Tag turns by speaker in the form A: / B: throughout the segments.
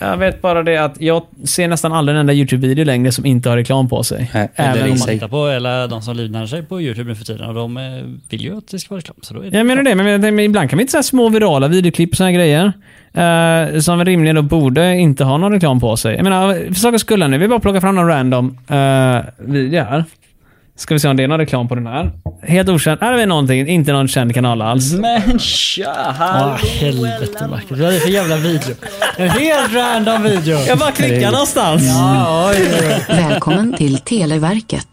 A: Jag vet bara det att jag ser nästan aldrig en enda YouTube-video längre som inte har reklam på sig.
B: Nej, eller
A: Även
B: i
A: om
C: Om
A: man...
C: man
B: sig.
C: tittar på alla de som livnär sig på YouTube nu för tiden och de eh, vill ju att det ska vara reklam. Så då är det
A: Jag menar det, men, jag tänker, men ibland kan vi inte säga små virala videoklipp och såna här grejer. eh, som rimligen då borde inte ha någon reklam på sig. Jag menar, för sakens skull här nu. Vi bara plockar fram någon random uh, video här. Ska vi se om det är någon reklam på den här. Helt okänd. Här har vi någonting. Inte någon känd kanal alls.
B: Men tja,
C: Ah,
B: hallå!
C: helvete Marcus. Vad är det för jävla video? En helt random video.
A: Jag bara klickar någonstans.
C: Ah, oj, oj, oj.
D: Välkommen till Televerket.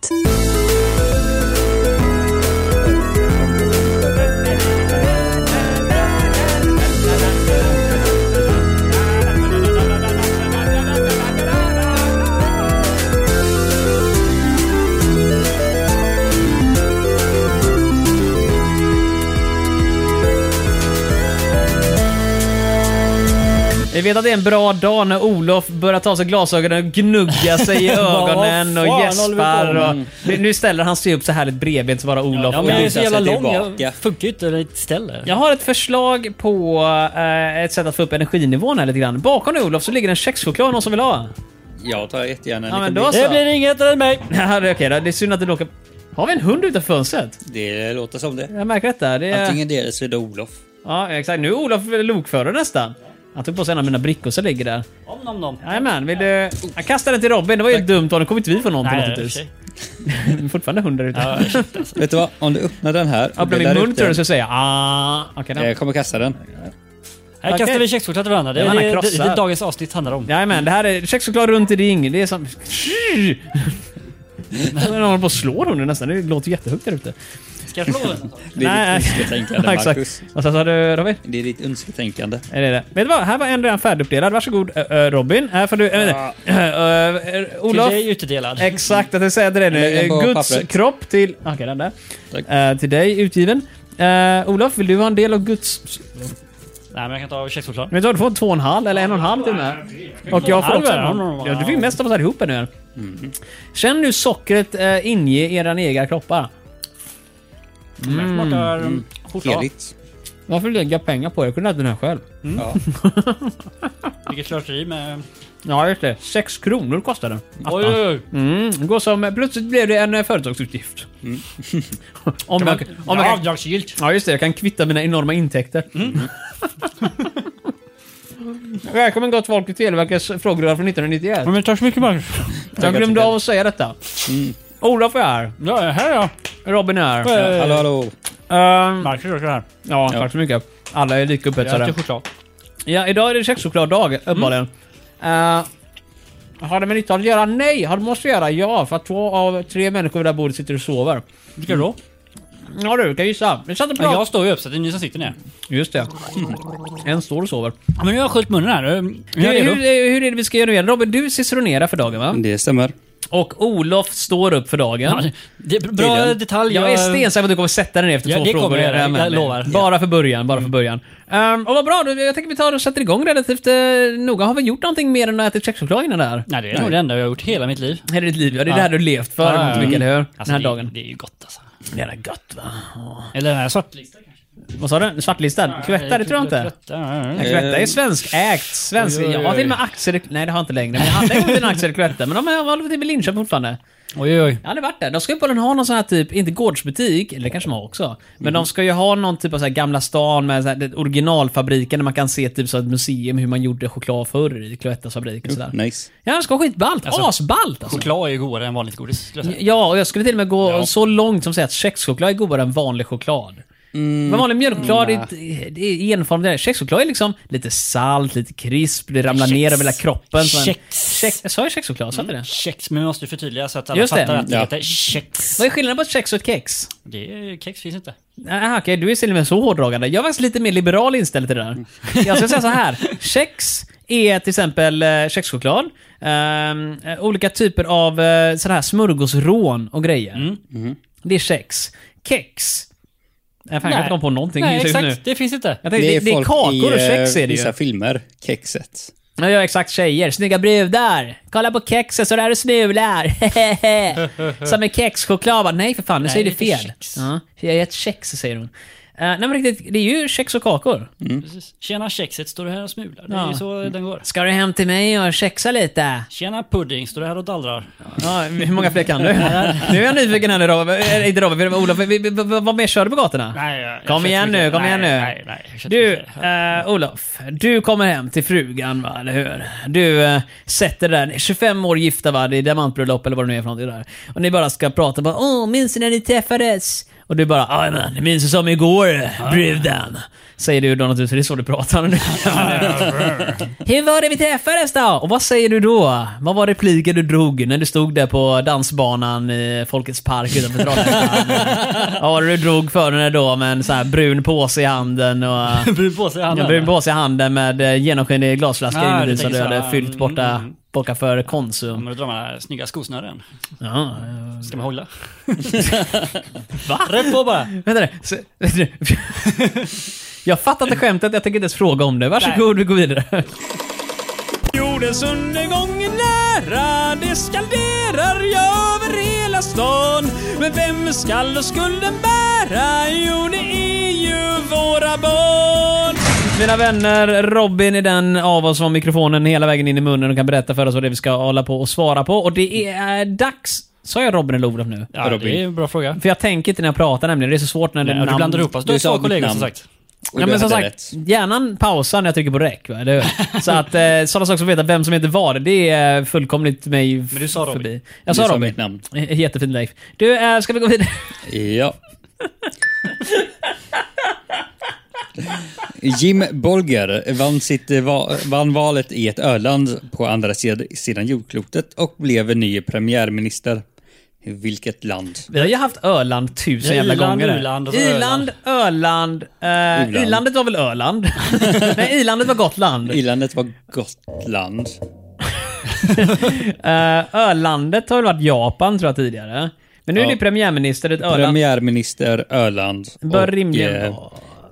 A: Vi vet att det är en bra dag när Olof börjar ta sig glasögonen och gnugga sig i ögonen och
C: Vad fan håller
A: gäspar.
C: vi på
A: Och, nu, nu ställer han sig upp så härligt bredvid så bara Olof.
C: Ja, men
A: och-
C: jag är så jävla
B: sig
C: lång.
B: tillbaka.
C: Jag funkar ju inte riktigt ställe.
A: Jag har ett förslag på eh, ett sätt att få upp energinivån här lite grann. Bakom dig Olof så ligger en kexchoklad någon som vill ha.
B: Jag tar jättegärna en
A: Ja, men
B: liten
A: då
B: bit.
A: så.
C: Det blir inget än mig.
A: Ja, det är okej då. Det är synd att du råkar... Har vi en hund utanför fönstret?
B: Det låter som det.
A: Jag märker detta. Det är...
B: Antingen det eller så är det Olof.
A: Ja, exakt. Nu är Olof lokförare nästan. Han tog på sig en av mina brickor som ligger där.
C: Om, nom, nom.
A: Jajamän, vill du... Jag kastar den till Robin. Det var ju dumt av Nu kommer inte vi få någon på något
C: Nej, i och för
A: vis.
C: sig.
A: Fortfarande hundar ute.
C: Ja, shit, alltså.
B: Vet du vad? Om du öppnar den här och
A: Öppnar min
B: bläddrar
A: mun
B: upp
A: tror
B: den- eh,
A: jag så säger jag ah. Okej, då.
B: Jag kommer kasta den.
C: Här kastar vi kexchoklad till varandra. Det
A: Ja,
C: är
A: man
C: det, det,
A: krossar.
C: det dagens avsnitt handlar om.
A: Jajamän, det här är kexchoklad runt i ring. Det är som... Någon håller på att slå hunden nästan. Det låter jättehögt där ute.
C: Ska jag slå den?
B: Det är
A: Nej.
B: ditt önsketänkande Marcus.
A: Vad sa du Robin?
B: Det är ditt önsketänkande.
A: Är det det? Vet du vad? Här var en redan färdiguppdelad. Varsågod Ö, ö, Robin. Här får du... Äh, äh, äh,
C: Till
A: Olof.
C: dig utdelad.
A: Exakt, jag tänkte säga det nu.
B: Lägg den på
A: Eh, Guds
B: pappret.
A: kropp till... Okej, den där.
B: Tack.
A: Eh, till dig, utgiven. Uh, Olof, vill du ha en del av Guds...
C: Nej, men jag kan ta kexchoklad.
A: Vet du vad, du får två och en halv, eller en och en halv till och med. Och jag får också en
C: Halv,
A: halv.
C: ja.
A: Ja, du fick mest av oss allihopa nu. här. Mhm. Känn nu sockret uh, inge era egna kroppar.
C: Mm. Smakar mm. choklad.
B: Heligt.
A: Varför lägga pengar på det? Jag kunde ätit den här själv.
B: Ja.
C: Vilket slöseri med...
A: Ja, just det. Sex kronor kostar den.
C: Oj, oj, oj.
A: Mm, det går som... Plötsligt blev det en eh, företagsutgift. Mm. om jag, om
C: Kan man-
A: jag kan, Mm.
C: Avdragsgillt.
A: ja, just det. Jag kan kvitta mina enorma intäkter. Mm. Välkommen gott folk till Televerkets frågelåda från 1991.
C: Men tack så mycket Marcus.
A: Jag glömde av att säga detta. Mm. Olof är här.
C: Ja, här ja.
A: Robin är här.
C: Eh,
B: Hallå hallå.
A: Ehm,
C: Marcus också här.
A: ja, tack så mycket. Alla är lika
C: Jag
A: upphetsade. Mm.
C: äter choklad.
A: Ja, idag är det kexchokladdag, uppenbarligen. Eh, har det med nytta att göra? Nej! Har det med oss att göra? Ja, för att två av tre människor vid det här bordet sitter och sover.
C: Vilka då?
A: Ja du, kan gissa. Vi satt och
C: Men
A: pratade...
C: jag står ju upp så det är ni som sitter ner.
A: Just det. En står och sover.
C: Ja, Men nu har jag sköljt munnen här. Ehm, Jag
A: Hur,
C: är redo.
A: hur, hur är Mm. det vi ska göra nu igen? Robin, du ciceronerar för dagen va?
B: Det stämmer.
A: Och Olof står upp för
C: Ja,
A: dagen.
C: det- Det är bra
B: Tydligen.
C: detalj.
A: Jag är stensäker på att du kommer sätta dig ner efter
C: Ja,
A: två
C: det
A: frågor.
C: kommer jag göra,
A: Jajamän.
C: jag lovar.
A: Bara för början, bara för början. Ehm, och vad bra, då- jag tänker vi tar och sätter igång relativt eh, noga. Har vi gjort någonting mer än att äta kexchoklad innan det här?
C: Nej, det är nog det enda jag har gjort hela mitt liv.
A: Här är ditt liv, ja. Det är
C: Ja.
A: det här du levt för,
C: Ja, ja,
A: ja,
C: ja.
A: mycket, eller hur?
C: Alltså,
A: den här
C: det,
A: dagen.
C: Det är ju gött alltså.
A: Det är gött va?
C: Eller den här svartlista kanske.
A: Vad sa du? Svartlistad? Kvättare tror jag inte.
C: inte.
A: Kvättare är svenskägt. Svensk.
C: Oj, oj, oj.
A: Jag har till och med aktier... Nej, det har jag inte längre. Men jag hade en gång till en aktier i Kvättare. Men de har- håller till i Linköping fortfarande.
C: Oj, oj, oj.
A: Jag har aldrig varit där. De ska ju på den ha någon sån här typ, inte gårdsbutik, eller det kanske de har också. Men de ska ju ha någon typ av så här Gamla stan med så här, det- originalfabriken där man kan se typ så här ett museum hur man gjorde choklad förr i Cloettas fabrik och sådär.
B: Nice.
A: Ja, det ska vara skitballt.
C: Alltså,
A: Asballt alltså.
C: Choklad är ju godare än vanligt godis. skulle jag säga.
A: Ja, och jag skulle till och med gå
C: Ja.
A: så långt som att säga att kexchoklad är godare än vanlig choklad.
C: Mm.
A: Men vanlig mjölkchoklad är, det är enformig. där. Kexchoklad är liksom lite salt, lite krisp, det ramlar ner över hela kroppen. som en-
C: Kex. Mm.
A: Kex. Jag sa ju kexchoklad, sa inte det?
C: Kex, men vi måste ju förtydliga så att alla
A: Just det.
C: fattar att det
B: Ja.
C: heter kex.
A: Vad är skillnaden på ett kex och ett kex?
C: Det är, kex finns inte.
A: Aha, okej, du är till och med så hårdragande. Jag är faktiskt lite mer liberal inställd till det där. Jag ska säga så här. Kex är till exempel eh, kexchoklad. Ehm, eh, olika typer av eh, sådana här smörgåsrån och grejer. Det är kex. Kex. Jag fan, jag kan
C: Nej.
A: inte komma på någonting
C: Nej,
A: just
C: exakt.
A: nu.
C: Det finns inte.
A: Jag tänkte, det, det är
B: folk
A: kakor och
B: i,
A: kex
B: eh,
A: är det ju.
B: vissa filmer. Kexet.
A: Ja, jag är exakt tjejer. Snygga brudar. Kolla på kexet så där du smular. Som en kexchoklad. Bara, Nej för fan, nu säger du
C: det är
A: fel.
C: kex.
A: Ja, jag är ett kex, säger hon. Eh, nej men riktigt, det är ju kex och kakor.
C: Precis. Tjena kexet, står du här och smular? Det är
A: Ja.
C: ju så den går.
A: Ska du hem till mig och kexa lite?
C: Tjena pudding, står du här och dallrar?
A: Ja, hur många fler kan du? nu är jag nyfiken här nu Robert, Eh, inte Robert, Olof, vi- vi- vi- vad mer kör du på gatorna?
C: Nej, jag- jag
A: Kom
C: kör
A: igen
C: inte mycket.
A: nu, kom
C: nej,
A: igen nu.
C: Nej, nej, jag kör inte
A: Du,
C: mycket.
A: eh, Olof, du kommer hem till frugan va, eller hur? Du eh, sätter dig där, 25 år gifta va, det är diamantbröllop eller vad det nu är för någonting där. Och ni bara ska prata bara, åh, minns du när ni träffades? Och du bara, "Ja, men minns du som igår, bruden? Säger du då naturligtvis, för det är så du pratar nu. Hur var det vi träffades då? Och vad säger du då? Vad var repliken du drog när du stod där på dansbanan i Folkets park utanför Trollhättan? Vad var det du drog för henne då med en sån här brun påse i handen och...
C: Brun påse i
A: En
C: handen.
A: brun påse i handen med eh, genomskinlig glasflaska
C: Ah,
A: inuti
C: du
A: som du
C: tänker så.
A: hade
C: Mm,
A: fyllt borta,
C: mm.
A: borta för
C: Ja,
A: Konsum.
C: men då drar man den här snygga skosnören.
A: Ja.
C: Ska man hålla?
A: Va?
C: Rätt på bara!
A: Vänta nu. så- vänta nu. Jag fattar inte skämtet, jag tänker inte ens fråga om det. Varsågod, vi går vidare. Jordens undergång är nära, det skanderar jag över hela stan. Men vem skall då skulden bära? Jo, det är ju våra barn. Mina vänner, Robin är den av oss som har mikrofonen hela vägen in i munnen och kan berätta för oss vad det är vi ska hålla på och svara på. Och det är eh, dags... Sa jag Robin eller Olof nu?
C: Ja,
B: Robin.
C: det är en bra fråga.
A: För jag tänker inte när jag pratar nämligen, det är så svårt när det är
C: Ja, du
A: namn.
C: blandar ihop oss. Du har
B: Du sa
C: två
B: mitt
C: kollegor som
B: namn.
C: sagt.
B: Och
A: Ja,
B: du
A: men som
B: hade
A: sagt,
B: rätt.
A: hjärnan pausar när jag trycker på räck. Va? Eller hur? så att eh, sådana saker som att veta vem som heter vad, det är fullkomligt mig Men
C: du sa Robin.
A: förbi. Jag
B: Du
A: sa
B: sa
A: Robin.
B: mitt namn.
A: Eh, Jättefint Leif. Du, eh, ska vi gå vidare?
B: Ja. Jim Bolger vann, sitt, va, vann valet i ett öland på andra sid- sidan jordklotet och blev ny premiärminister. I vilket land?
A: Vi har ju haft Öland tusen
C: Ja,
A: jävla
C: Irland,
A: gånger. här.
C: Irland och så
A: Irland, Öland. Eh,
B: Irland.
A: Irlandet var väl Öland? Nej, Irlandet var Gotland.
B: Irlandet var Gotland.
A: Eh, Ölandet har väl varit Japan tror jag tidigare. Men nu är
B: Ja.
A: det premiärminister i ett Öland.
B: Premiärminister Öland
A: Bör
B: och
A: rimligen
B: eh,
A: vara.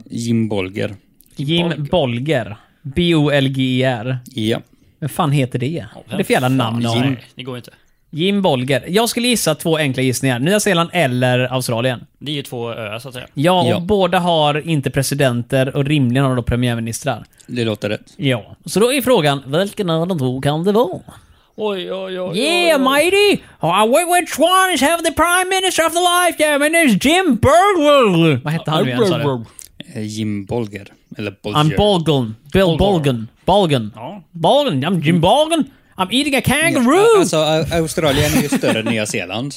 B: Jim Bolger.
A: Jim Bolger. B-O-L-G-E-R.
B: Ja.
A: E Vem fan heter det? Vad är det för jävla namn
C: Nej,
A: Jim.
C: det går inte.
A: Jim Bolger. Jag skulle gissa två enkla gissningar. Nya Zeeland eller Australien.
C: Det är ju två öar så att säga.
A: Ja, och
B: Ja.
A: båda har inte presidenter och rimligen har de då premiärministrar.
B: Det låter rätt.
A: Ja. Så då är frågan, vilken av de två kan det vara?
C: Oj, oj, oj.
A: Yeah, mighty! Oh, whi- which one is have the prime minister of the lifetime? And it's Jim Bolger! Vad hette han nu igen sa du?
B: Eh, Jim Bolger. Eller
A: I'm
B: Bolger.
A: Bolgen. Bill Bolgen. Bolgen.
C: Ja.
A: Bolgen. I'm Jim Bolgen. I'm eating a
B: Ja,
A: kangaroo!
B: Alltså, Au- Australien är ju större än Nya Zeeland.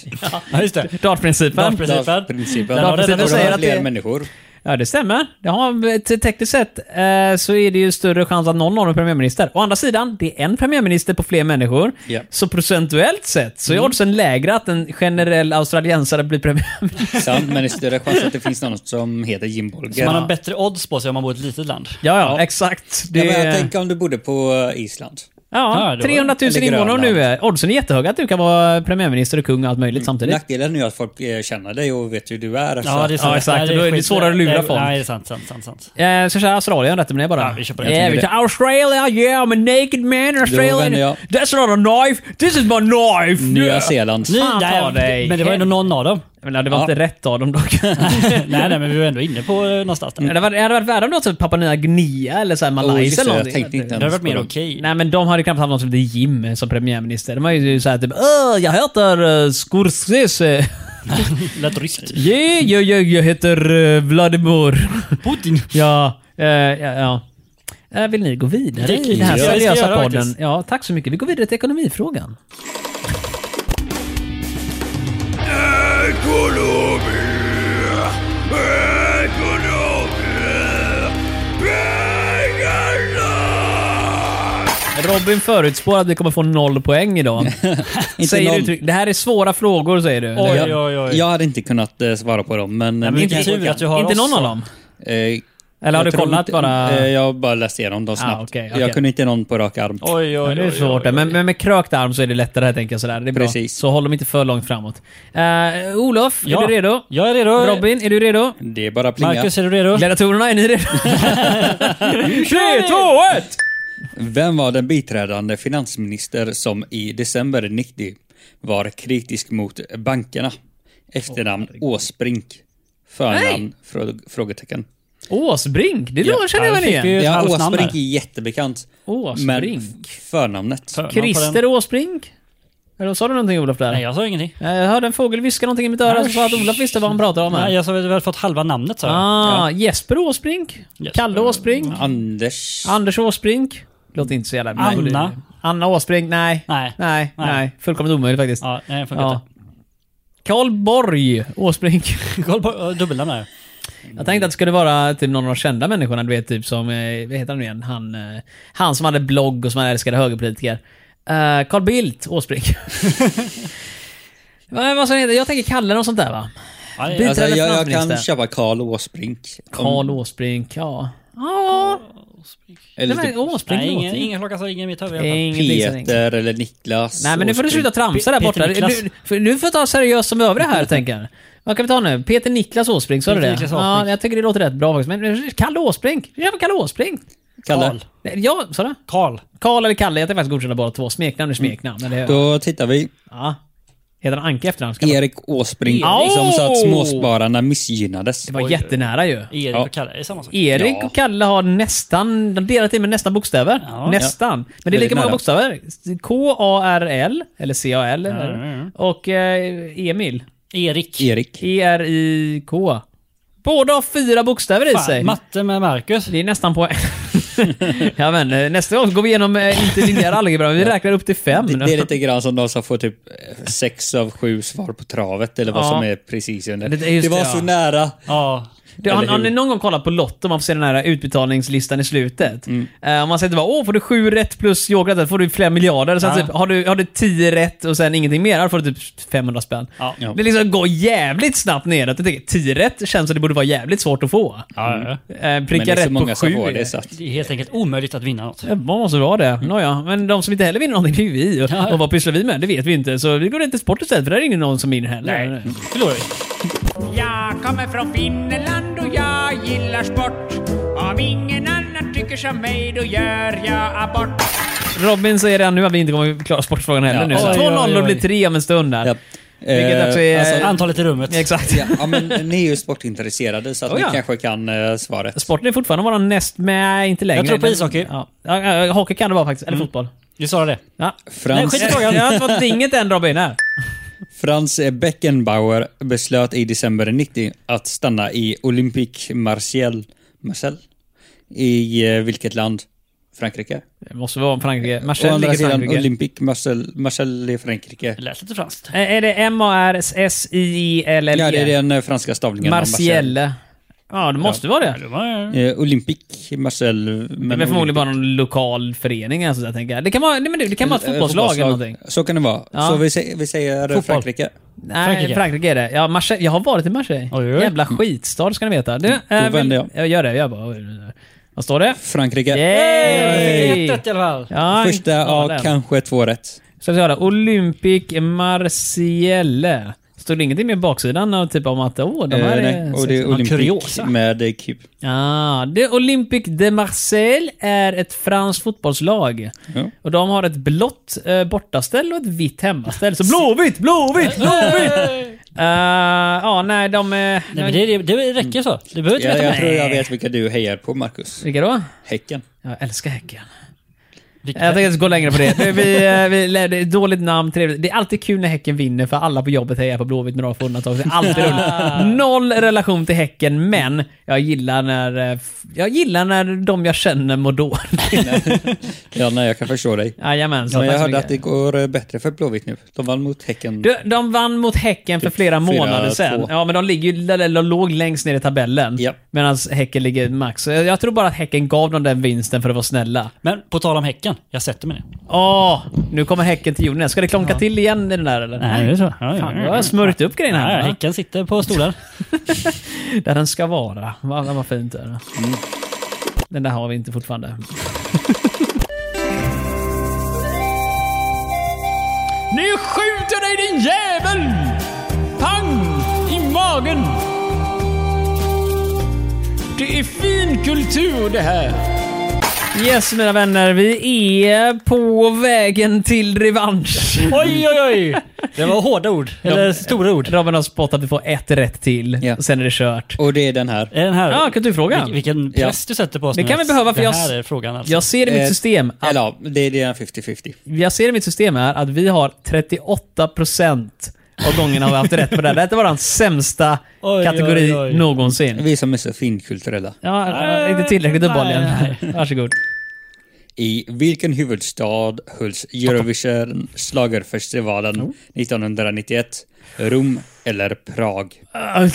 C: Ja, just det.
A: Dartprincipen.
C: Dartprincipen. Principen.
B: Principen.
A: Den har räddat
B: Och de har
A: oss. säger att
B: fler
A: det-
B: människor.
A: Ja, det stämmer. Det har, te- tekniskt sett eh, så är det ju större chans att någon av dem är premiärminister. Å andra sidan, det är en premiärminister på fler människor.
B: Ja.
A: Så procentuellt sett så är
C: Mm.
A: oddsen lägre att en generell australiensare blir premiärminister.
B: Sant, men det är större chans att det finns någon som heter Jim
C: Så
B: Bolger.
C: man har bättre odds på sig om man bor i ett litet land.
A: ja, ja, exakt. Det,
B: ja, men
A: ja,
B: jag tänker om du bodde på eh, Island.
C: Ja,
A: ja,
C: det var-
A: 300 000
B: eller
A: invånare nu.
B: Grönland.
A: är- Oddsen är jättehöga att du kan vara premiärminister och kung och allt möjligt
C: Mm.
A: samtidigt.
B: Nackdelen är ju att folk eh, känner dig och vet hur du är.
C: Ja, det är sant.
A: Ja, exakt.
C: Nej,
A: Då är det
C: skit-
A: svårare att lura
C: Nej,
A: folk.
C: Nej, det är sant, sant, sant, sant.
A: Eh, så kör Australien rätt men det bara.
C: Ja, vi kör på det.
A: Yeah,
B: Jag
A: vi
B: tycker
A: kör Australia, yeah, I'm a naked man in
B: vänder
A: Australia.
B: jag.
A: That's not a knife, this is my knife!
B: Nya
A: Yeah.
B: Zeeland.
A: Fan, ta dig
C: Men det var ändå
A: hem.
C: någon av dem.
A: Men det var
B: Ja.
A: inte rätt av dem dock.
C: nej, nej, men vi var ändå inne på eh, någonstans där.
A: Det hade varit, det hade varit värre om det var typ Papua Nya Guinea eller så här
B: Oh,
A: Malaysia
B: just det,
A: eller
B: jag
A: någonting.
B: tänkte inte
C: Det hade
B: ens
C: varit
B: på
C: mer
B: dem.
C: okej.
A: Nej men de hade knappt haft någon som hette Jim som premiärminister. De var ju såhär typ Öh, jag heter uh, Scorsese.
C: Lät ryskt.
A: Yeah, jag, jag, jag heter eh, Vladimir.
C: Putin.
A: ja, eh, ja, ja. Eh, vill ni gå vidare
C: Det kan
A: i den här
C: vi göra. Det ska vi
A: seriösa
C: göra
A: podden?
C: faktiskt.
A: Ja, tack så mycket. Vi går vidare till ekonomifrågan. Robin förutspår att vi kommer få noll poäng idag.
B: Inte
A: säger
B: någon.
A: du, uttryck- det här är svåra frågor säger du.
C: Oj,
B: Jag-
C: oj, oj.
B: Jag hade inte kunnat eh, svara på dem, men...
C: Nej, men vilken tur att du har
A: Inte
C: oss.
A: någon av dem?
B: Eh,
A: Eller har
B: jag
A: du
B: tror
A: kollat
B: inte-
A: bara?
B: eh, Jag har bara läst igenom dem snabbt.
A: okej, okej.
B: Jag kunde inte någon på rak arm.
C: Ah, Oj,
A: Ja,
C: oj,
A: det är
C: oj,
A: svårt
C: oj,
A: det. Men, men med krökt arm så är det lättare tänker jag sådär. Det är bra.
B: Precis.
A: Så håll dem inte för långt framåt. Uh, Olof,
C: Ja.
A: är du redo?
C: Jag är redo.
A: Robin, är du redo?
B: Det är bara plinga.
C: Marcus, är du redo?
A: Gladiatorerna, är ni redo?
C: kör
A: 3, 2,
C: vi!
A: 1!
B: Vem var den biträdande finansminister som i december 90 var kritisk mot bankerna? Efternamn Åsbrink. Förnamn? Frå, frågetecken.
A: Åsbrink? Det
B: Ja,
A: ja, känner jag
C: han
A: väl
C: fick ju-
A: igen?
C: ett
B: Ja,
C: halvt namn
B: Åsbrink
C: där.
B: är jättebekant.
A: Åsbrink?
B: Men f- förnamnet.
C: Förnamn på den.
A: Christer Åsbrink? Eller sa du någonting Olof där?
C: Nej, jag sa ingenting.
A: Eh, Jag hörde en fågel viska någonting i mitt öra som sa att Olof visste vad han pratade om här.
C: Nej, jag sa att vi hade fått halva namnet sa jag.
A: ah, Jesper Åsbrink?
C: Jesper.
A: Kalle Åsbrink?
B: Anders.
A: Anders Åsbrink? Låter inte så jävla...
C: Anna.
A: Nej, det- Anna Åsbrink? Nej.
C: Nej.
A: Nej.
C: Nej.
A: nej. Fullkomligt omöjligt faktiskt.
C: Ja, nej, det funkar
A: Ja. Karl Borg Åsbrink.
C: inte. Kolla på ö, dubbelnamn här.
A: Jag tänkte att det skulle vara typ någon av de kända människorna, du vet typ som, eh, vad heter han nu igen, han, eh, han som hade blogg och som han älskade högerpolitiker. Eh, Carl Bildt Åsbrink. vad, vad som heter, jag tänker Kalle och sånt där va?
C: Ja, det-
A: Bit-
B: Alltså, jag, jag kan
A: finansminister.
B: köpa Karl Åsbrink. Om-
A: Karl Åsbrink, ja. Ja,
B: eller
A: nej, men
B: typ
A: Åsbrink
C: Nej, ingen,
A: låter-
C: ingen klocka sa ingen i mitt huvud. i alla fall.
A: Ingenting som ringer.
B: Peter eller Niklas.
A: Nej men nu får du
B: Åsbrink.
A: sluta tramsa där
C: Pe-
A: borta.
C: Peter Niklas.
A: Nu, för nu får jag ta seriöst som övriga här tänker jag. Vad kan vi ta nu? Peter Niklas Åsbrink, sa du
C: Peter
A: det?
C: Niklas
A: Ja,
C: Åsbrink.
A: jag tycker det låter rätt bra faktiskt. Men Kalle Åsbrink? Vi kör på Kalle Åsbrink.
B: Kalle.
C: Karl.
A: Nej, Ja, sa du?
C: Karl.
A: Karl eller Kalle, jag tänkte faktiskt godkänna bara två. Smeknamn är smeknamn. Men det,
B: Då tittar vi.
A: ja. Heter han Anka i efternamn? Ska man-
B: Erik Åsbrink
A: Erik.
B: som sa att
A: Au!
B: småspararna missgynnades.
A: Det var jättenära ju.
C: Erik
B: Ja.
C: och Kalle, är det samma sak?
A: Erik
B: Ja.
A: och Kalle har nästan, de delar till med nästan bokstäver.
C: Ja.
A: nästan. Men det är
B: Väldigt
A: lika många
B: nära.
A: bokstäver. K-A-R-L, eller C-A-L. eller-
C: ja, ja.
A: Och eh, Emil. E
C: Erik.
B: Erik.
A: E-R-I-K. Båda har fyra bokstäver i sig.
C: Fan, matte med Marcus.
A: Det är nästan på... ja, men, eh, nästa gång går vi igenom eh, inte linjär algebra, men vi räknar upp till fem.
B: Det, det är lite grann som de som får typ eh, sex av sju svar på travet eller vad
A: Ja.
B: som är precis under.
A: Det- det är just
B: Det var
A: det,
B: så
A: ja.
B: nära.
C: Ja.
A: Du, har,
B: Eller
A: har
B: hur?
A: ni någon gång kollat på Lotto, man får se den här utbetalningslistan i slutet. Eh, om man säger typ bara, åh, får du sju rätt plus yoghurten får du flera miljarder. Sen
C: Ja.
A: typ, har, du, har du tio rätt och sen ingenting mer, då får du typ 500 spänn.
C: Ja.
B: Ja.
A: Det liksom går jävligt snabbt neråt. Jag tänker, tio rätt känns som det borde vara jävligt svårt att få.
C: Ja, ja.
A: Eh,
B: Men det
A: pricka
B: är så
A: rätt
B: många
A: på
B: som
A: sju.
B: får det.
A: är-
B: Så att,
C: Det är helt enkelt omöjligt att vinna något.
A: Ja, Man måste vara det. Nåja, men de som inte heller vinner någonting, det är ju vi. Och,
C: Ja.
A: och vad pysslar vi med? Det vet vi inte. Så vi går inte till sport istället, för där är ingen någon som vinner heller.
C: Nej, förlorar vi.
E: Jag kommer från Finland och jag gillar sport. Om ingen annan tycker som mig då gör jag abort.
A: Robin säger redan nu att vi inte kommer klara sportfrågan heller
B: Ja,
A: nu.
B: oj,
A: Så
C: oj,
A: 2-0
C: oj.
A: och blir 3 om en stund där.
B: ja.
A: Vilket också är-
B: alltså,
C: Antalet i rummet.
A: Eh, Exakt.
B: ja, ja, men ni är ju sportintresserade så att
A: Oh, ja.
B: ni kanske kan eh, svaret.
A: Sporten är fortfarande vår näst, med inte längre.
C: Jag tror på
A: Den-
C: ishockey. Mm.
A: Ja. Ja, ja, hockey kan det vara faktiskt, eller fotboll.
C: Du sa det.
A: Ja.
B: Frans,
C: Nej, skit i
A: Jag har inte fått inget än Robin. Här.
B: Frans Beckenbauer beslöt i december 90 att stanna i Olympique Marseille, Marseille i eh, vilket land? Frankrike?
A: Det måste vara om Frankrike.
B: Å
A: Marcel ligger
B: andra
A: i
B: sidan
A: Frankrike.
B: Olympique Marseille, Marseille i Frankrike.
C: Det lät lite franskt.
A: Eh, Är det M-A-R-S-I-E-L-L-E?
B: Ja, det är den eh, franska stavningen. av
A: Marcielle. E? Ja, det måste vara det.
C: Det var...
B: Marseille. Eh, Olympique Marseille.
A: Det är väl förmodligen bara någon lokal förening eller sådär, tänker jag. Det kan vara, nej, men det, det kan vara ett
B: Eh,
A: fotbollslag eller någonting.
B: Så kan det vara.
A: Ja.
B: Så vi, sä- vi säger
C: Fotboll.
B: Frankrike.
A: Nej, Frankrike.
C: Frankrike.
A: är det. Ja, Marseille. Jag har varit i Marseille.
C: Oj, oj, oj.
A: Jävla skitstad ska ni veta. Du, eh,
B: Då vänder jag.
A: jag. Gör det. Jag bara... Vad står det?
B: Frankrike.
A: Yay!
C: Ett rätt i alla fall.
A: Ja,
B: Första
A: ja,
B: av
A: den.
B: kanske två rätt.
A: Ska vi höra. Olympic Marcielle. Stod det ingenting med baksidan av typ om att åh, de här
B: Eh,
A: är...
B: nej, och det är Olympique
C: kuriosa.
B: med eh, Q.
A: Ja, det Olympique de Marseille är ett franskt fotbollslag.
B: Ja.
A: Och de har ett blått eh, bortaställ och ett vitt hemmaställ. Så blåvitt, blåvitt, blåvitt! Eh, Ja, nej, de... Uh,
C: Nej, men det, det, det räcker så. Du behöver inte
B: Ja,
C: veta
B: jag
C: mer.
B: tror jag vet vilka du hejar på, Marcus.
A: Vilka då?
B: Häcken.
A: Jag älskar Häcken.
C: Vilka-
A: Jag tänker inte gå längre på det. Vi, vi, vi, det är ett dåligt namn, trevligt. Det är alltid kul när Häcken vinner för alla på jobbet hejar på Blåvitt med några få undantag. Det är alltid roligt. Noll relation till Häcken, men jag gillar när, eh, f- jag gillar när de jag känner mår dåligt.
B: Ja, nej, jag kan förstå dig.
A: Jajamän, så
B: Men jag
A: tack så
B: hörde att det
A: mycket.
B: går eh, bättre för Blåvitt nu. De vann mot Häcken.
A: Du, de vann mot Häcken för flera
B: fyra,
A: månader sedan.
B: två.
A: Ja, men de, ligger, ju- eller de låg längst ner i tabellen.
B: Ja.
A: Medan Häcken ligger max. Så Jag jag tror bara att Häcken gav dem den vinsten för att vara snälla.
C: Men på tal om Häcken, jag sätter mig ner.
A: Åh, nu kommer Häcken till jorden. Ska det klonka till igen i den där eller?
C: Nej, det är så. Ja,
A: Fan,
C: ja,
A: jag har
C: ja.
A: smörjt upp grejen här.
C: Nej,
A: va?
C: häcken sitter på stolar.
A: Där den ska vara. Vad, vad fint det är.
E: Mm.
A: Den där har vi inte fortfarande.
E: Nu skjuter dig din jävel! Pang! I magen! Det är fin kultur det här.
A: Yes, mina vänner. Vi är på vägen till revansch.
C: Oj, oj, oj! Det var hårda ord. Eller stora ord.
A: Robin har spått att vi får ett rätt till.
B: Ja.
A: och Sen är det kört.
B: Och det är den här.
C: Är den här...
A: Ja, kulturfrågan.
C: Vil- vilken press du sätter på oss
A: Det
C: nu
A: kan vi
C: att
A: behöva, för
C: det
A: jag-
C: här är frågan alltså.
A: Jag ser i mitt
B: Eh,
A: system att,
B: Eller ja, det är det är 50-50.
A: jag ser i mitt system är att vi har 38% av gångerna har vi haft rätt på det här. Det här var den sämsta
C: Oj,
A: kategori
C: oj, oj.
A: någonsin.
B: Vi som är så finkulturella.
A: Ja, ja, inte tillräckligt uppenbarligen.
C: Nej,
A: Varsågod.
B: I vilken huvudstad hölls Eurovision Schlagerfestivalen 1991? Rom eller Prag? Ja,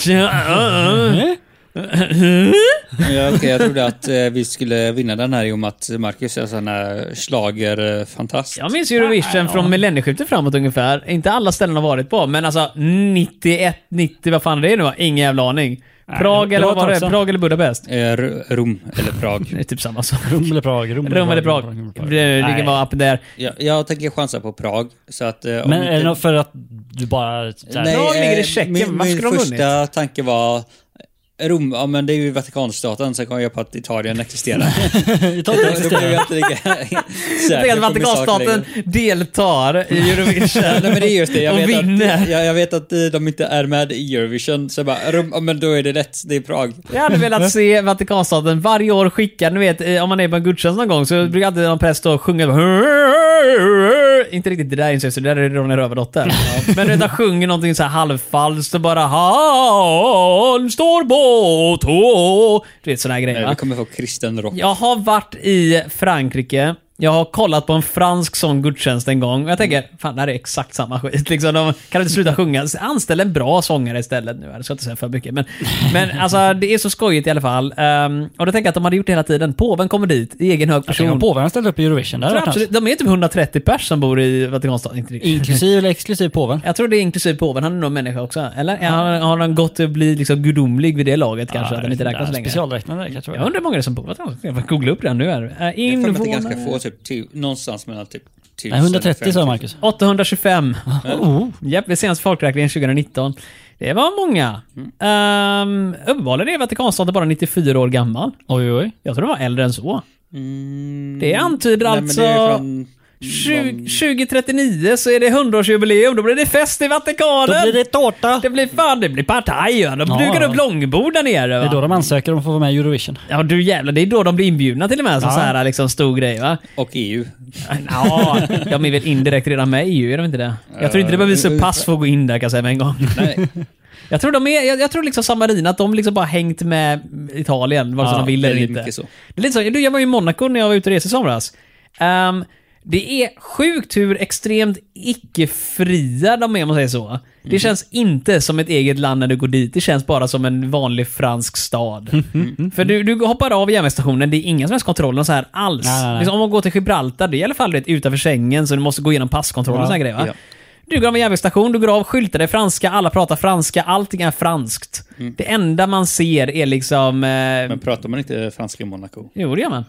B: okej, jag trodde att eh, vi skulle vinna den här i och med att Marcus är en sån här schlagerfantast.
A: Jag minns Eurovision från millennieskiftet framåt ungefär. Inte alla ställen har varit på, men alltså 91, 90, vad fan det är nu va? Ingen jävla aning. Prag
C: det
A: eller
C: var
A: vad var
C: ett
A: det?
C: tag sedan.
A: Prag eller Budapest?
B: Eh, R- Rom eller
A: Det
B: Prag?
A: är typ samma sak.
C: Rom eller Prag? Rom
A: Rom eller Prag?
C: Rom eller Prag.
A: Det- Vilken var appen där?
B: Jag, jag tänker chansa på Prag. Så att, eh, om
C: Men
B: inte-
C: är det något för att du bara... så här-
A: Prag ligger i
B: eh,
A: Tjeckien,
B: Min,
A: vad
B: min
A: skulle de
B: första tanke var eh, Rom, ja men det är ju Vatikanstaten, sen kom jag på att Italien existerar.
C: Italien
B: Då blev jag inte lika
A: Jag
B: säker
A: tänker
B: på
A: att
B: min sak
A: Vatikanstaten
B: längre.
A: deltar i Eurovision.
B: Ja, Nej men det är just det, jag
A: Och
B: vet,
A: vinner.
B: att, jag, jag vet att eh, de inte är med i Eurovision, så jag bara Rom, ja men då är det rätt, det är Prag.
A: Jag hade velat se Vatikanstaten varje år skicka, ni vet eh, om man är på en gudstjänst någon gång så brukar alltid någon präst stå och sjunga. Inte riktigt det där inser det där är Ronja Rövardotter. Men du vet, han sjunger någonting så här halvfalskt och bara Han står på tå. Du vet såna här grejer.
B: Nej,
A: va?
B: vi kommer få kristen rock.
A: Jag har varit i Frankrike. Jag har kollat på en fransk sån gudstjänst en gång och jag tänker, fan det här är exakt samma skit. Liksom, de kan inte sluta sjunga. Anställ en bra sångare istället nu. Jag ska inte säga för mycket. Men, men alltså, det är så skojigt i alla fall. Ehm, och då tänker jag att de hade gjort det hela tiden. Påven kommer dit i egen hög person.
C: Tänk om påven ställde upp i Eurovision. Det
A: Jag
C: hade
A: tror
C: varit
A: absolut,
C: något.
A: de är typ 130 pers som bor i Vatikanstaten. Inte riktigt.
C: Inklusive eller exklusiv påven.
A: Jag tror det är inklusive påven. Han är nog människa också. Eller har, har han gått att bli liksom gudomlig vid det laget kanske? att han inte räknas längre.
C: Specialräknande kanske.
A: Jag undrar hur många det är som bor i Vatikanstaten. Jag får googla upp det här nu. Här. Eh,
B: Jag har för mig att det är
A: invånare-
B: ganska få, typ tu, någonstans mellan typ tusen
C: Nej, 130 sa Marcus.
A: 825.
C: Oh.
A: Japp, vid senaste folkräkningen 2019. Det var många. Ehm, uppenbarligen är Vatikanstaten bara 94 år gammal.
C: Oj, oj.
A: Jag tror den var äldre än så.
B: Mm,
A: Det antyder
B: nej, men
A: alltså...
B: det är från-
A: 20, 2039 så är det 100-årsjubileum, då blir det fest i Vatikanen!
C: Då blir det tårta!
A: Det blir fan, det blir partaj! ja. De
C: Ja,
A: dukar
C: ja.
A: upp långbord där nere.
C: Det är då
A: Va?
C: de ansöker om att få vara med i Eurovision.
A: Ja du jävlar, det är då de blir inbjudna till och med som
C: Ja.
A: så här liksom stor grej va?
B: Och E EU.
A: Ja, de är väl indirekt redan med i EU, är de inte det? Jag tror inte det behöver visa pass för att gå in där kan jag säga med en gång.
B: Nej,
A: Jag tror, de är, jag, jag tror liksom Samarin, att de liksom bara hängt med Italien, vare sig
C: Ja,
A: de vill eller
B: väldigt
A: inte.
B: mycket så.
A: Det är lite så, du, jag var ju i Monaco när jag var ute och reste i somras. Ehm, det är sjukt hur extremt icke-fria de är om man säger så. Det känns inte som ett eget land när du går dit. Det känns bara som en vanlig fransk stad. För du, du hoppar av järnvägsstationen, det är inga som helst kontroller så här alls.
C: Nej, nej, nej.
A: Liksom, om man går till Gibraltar, det är i alla fall rätt utanför Schengen så du måste gå igenom passkontroller och
C: Ja,
A: såna grejer va?
B: ja.
A: Du går av en järnvägsstation, du går av, skyltar är franska, alla pratar franska, allting är franskt. Det enda man ser är liksom... Eh,
B: Mm. Men pratar man inte franska i Monaco?
A: Jo, det gör man.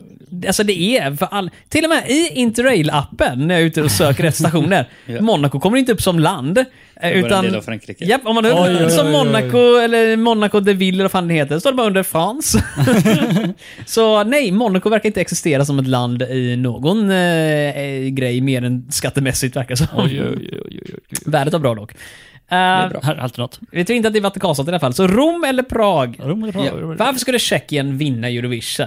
A: Alltså det är för all... Till och med i Interrail-appen, när jag är ute och söker rätt stationer,
B: Ja.
A: Monaco kommer inte upp som land. eh,
B: en
A: Utan...
B: del av Frankrike.
A: Japp, om man
C: Oj, oj,
A: som
C: oj, oj.
A: Monaco, eller Monaco de Ville, eller vad fan det heter, står det bara under France. Så nej, Monaco verkar inte existera som ett land i någon eh, eh, grej mer än skattemässigt verkar det som.
C: Oj, oj, oj, oj, oj.
A: Värdet var bra dock. Eh,
B: bra.
C: Här, alltid något.
A: vi tror inte att det är Vatikanstaten i alla fall. Så Rom eller Prag?
C: Rom eller Prag?
B: Ja.
C: Rom eller-
A: Varför skulle Tjeckien vinna Eurovision?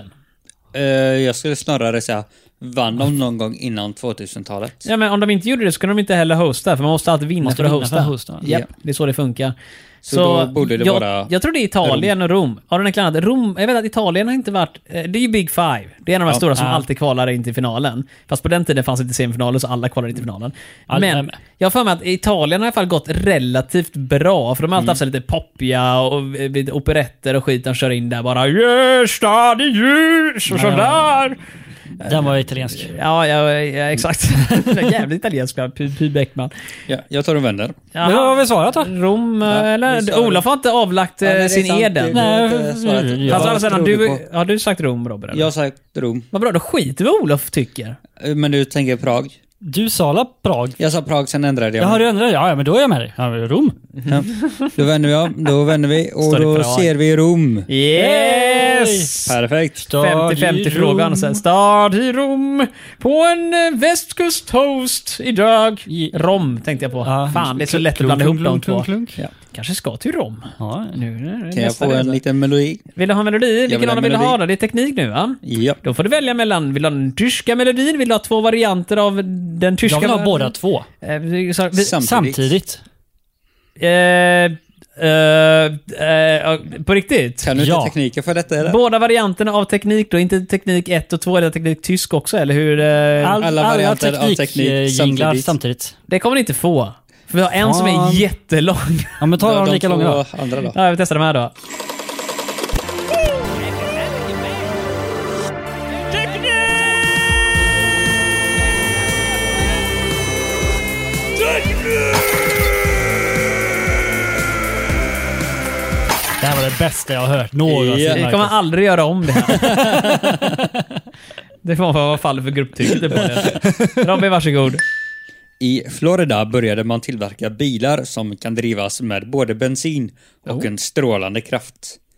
B: Eh, jag skulle snarare säga, vann de någon gång innan 2000-talet?
A: Ja, men om de inte gjorde det så kunde de inte heller hosta, för man måste alltid vinna
C: Måste
A: för att
C: vinna
A: hosta.
C: för att hosta.
A: Japp,
B: Ja.
A: det är så det funkar.
B: Så då borde det
A: jag,
B: vara
A: Jag tror det är Italien och Rom. Har du klarat Rom? Jag vet att Italien har inte varit... eh, Det är ju Big Five. Det är en av de
B: Ja.
A: stora som
C: Ja.
A: alltid kvalar in till finalen. Fast på den tiden fanns inte semifinaler, så alla kvalade in till finalen.
C: Alla är
A: Men
C: med.
A: jag har för mig att Italien har i alla fall gått relativt bra, för de har alltid
C: Mm.
A: haft så här lite poppiga och eh, lite operetter och skit de kör in där bara Yes, stad i ljus och sådär.
C: Den var italiensk.
A: Ja, ja, ja exakt. Jävligt italiensk, Py, Py Bäckman.
B: Ja, jag tar och vänder.
A: Ja.
C: Men vad har vi svarat då?
A: Rom, eh,
B: vi
A: eller?
B: svarar-
A: Olof har inte avlagt eh,
B: Ja, nej, det är
A: sin
B: sant.
A: eden.
B: Det-
A: Nej.
B: det-
C: Nej,
B: det- svaret-
C: jag-
A: Fast å andra
B: jag
A: sidan,
B: trodde
A: du,
B: på-
A: har du sagt Rom, Robert? eller?
B: Jag har sagt Rom.
A: Vad bra, då skiter vi i vad Olof tycker.
B: Eh, Men du tänker Prag?
C: Du sa la Prag?
B: Jag sa Prag, sen ändrade jag
C: Ja,
B: mig.
C: du ändrat dig? Ja, ja, men då är jag med dig. Ja, men Rom?
B: Ja. Då vänder vi om, då vänder vi och
A: Står det
B: då
A: Prag?
B: ser vi Rom.
A: Yes!
B: Perfekt.
A: 50-50 frågan sen. Stad i Rom. På en eh, västkusthost idag.
C: I-
A: Rom tänkte jag på.
C: Ja.
A: Fan, det är så lätt att blanda ihop de två. Kanske ska till Rom.
C: Ja,
A: Nu, nu, nu,
B: Kan jag
A: nästa
B: få en
A: resa.
B: liten melodi?
A: Vill du ha en melodi? Vilken
B: vill
A: av
B: ha
A: dem vill du
B: melodi.
A: ha då? Det är teknik nu va?
B: Ja.
A: Då får du välja mellan, vill du ha den tyska melodin? Vill du ha två varianter av den tyska?
C: jag vill ha
A: melodin?
C: båda två.
A: Eh, vi- så- vi-
B: Samtidigt.
C: Samtidigt.
A: eh, eh, eh, på riktigt?
B: Kan du
C: Ja.
B: inte tekniken för detta eller?
A: Båda varianterna av teknik då? Inte teknik 1 och 2 eller teknik tysk också, eller hur? eh,
C: All,
B: Alla
C: alla
B: varianter av
C: teknik,
B: teknik
C: eh, jinglar
B: samtidigt.
C: samtidigt.
A: Det kommer ni inte få. För vi har en som är
C: Fan.
A: jättelång.
C: Ja, men ta
B: Ja,
C: dem lika
B: två
C: långa då.
B: Andra då.
A: Ja, vi testar de här då.
C: Det här var det bästa jag har hört någonsin.
B: Ja.
A: Vi
C: Marcus.
A: kommer aldrig göra om det här. Det får vara fallet för grupptrycket på det. Robin, varsågod.
B: I Florida började man tillverka bilar som kan drivas med både bensin och en strålande kraft.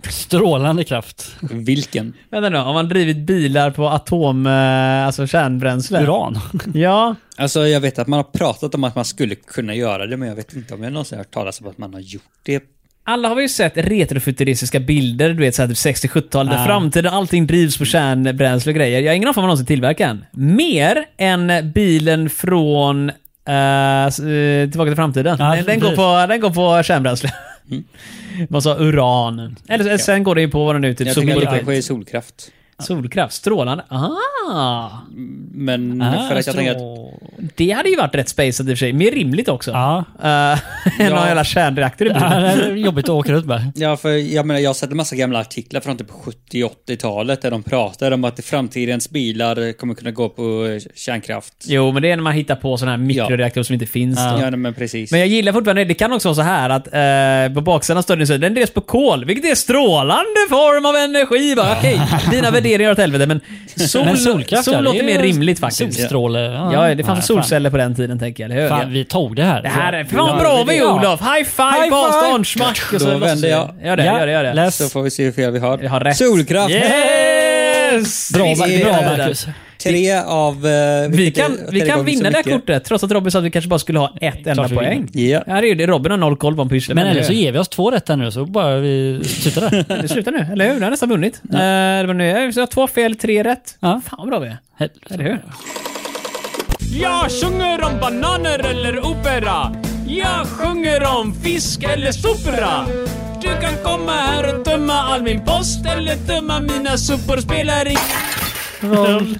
C: Strålande kraft.
B: Vilken?
A: Vänta nu, har man drivit bilar på atom... eh, Alltså kärnbränsle?
C: Uran.
A: Ja.
B: Alltså jag vet att man har pratat om att man skulle kunna göra det men jag vet inte om jag någonsin har hört talas om att man har gjort det.
A: Alla har vi ju sett retrofuturistiska bilder, du vet såhär typ 60-70-tal, där
C: Ja.
A: framtiden allting drivs på kärnbränsle och grejer. Jag har ingen aning om man någonsin tillverkar den. Mer än bilen från eh, s- eh, Tillbaka till framtiden.
C: Ja,
A: den, den, går
C: precis.
A: på, den går på kärnbränsle. Man sa uran. Eller så- sen går det ju på vad det nu är, typ
B: Jag tänker att
A: sol,
B: det kanske är solkraft. Mm,
A: solkraft, strålande. Ah!
B: Men
C: Ah,
B: för att jag tänker att
A: Det hade ju varit rätt spaceat i och för sig. Mer rimligt också.
C: Ja.
A: Eh, än att ha
B: Ja.
A: hela kärnreaktor i
C: Ja,
A: bilen.
C: det är jobbigt att åka runt med.
B: Ja, för jag menar, jag har sett en massa gamla artiklar från typ 70-80-talet där de pratar om att framtidens bilar kommer kunna gå på eh, kärnkraft.
A: Jo, men det är när man hittar på sådana här mikroreaktorer som inte finns. då.
B: Ja, nej, men precis.
A: Men jag gillar fortfarande, det kan också vara så här att eh, på baksidan står det så här, den drevs på kol, vilket är strålande form av energi. Bara, Okej, dina värderingar åt helvete, men sol,
C: Men
A: sol
C: ja, det
A: låter
C: är
A: mer rimligt faktiskt.
C: Solstråle. Ja,
A: Ja, det fanns
C: fan.
A: solceller på den tiden, tänker jag. Eller hur?
C: Fan, vi tog det här.
A: Det här är... Fan vad bra vi är, Olof! High five
C: High
A: på
C: five!
A: avstånd! Smack! och så-
B: Då vänder jag.
A: Gör det,
C: Ja,
A: gör det, gör det.
C: läs.
B: Så får vi se hur fel vi har.
A: Jag har rätt.
B: Solkraft!
A: Yes!
C: Bra,
A: Visst,
B: Mar-
A: vi
C: bra
A: är där.
C: Marcus.
B: Tre av... eh,
A: Vi
B: vilket
A: kan,
C: e-
B: är-
A: vi
B: tre gånger
A: kan
B: så
A: vinna det här
B: mycket.
A: kortet, trots att Robin sa att vi kanske bara skulle ha ett enda
C: Klart vi
A: poäng.
B: Ja.
A: Ja, det är ju det. Robin har noll koll på vad han pysslar
C: Men
A: med.
C: eller så
A: Det-
C: ger vi oss två rätt här nu så bara vi slutar där.
A: Det slutar nu, eller hur? Du har nästan vunnit. Eh, det var nu- Jag har två fel, tre rätt.
C: Ja.
A: Fan vad bra vi är.
C: Helvete.
A: Eller hur? Jag sjunger om bananer eller opera. Jag sjunger om fisk eller sopra. Du kan komma här och tömma all min post eller tömma mina sopor. Spelar ingen roll.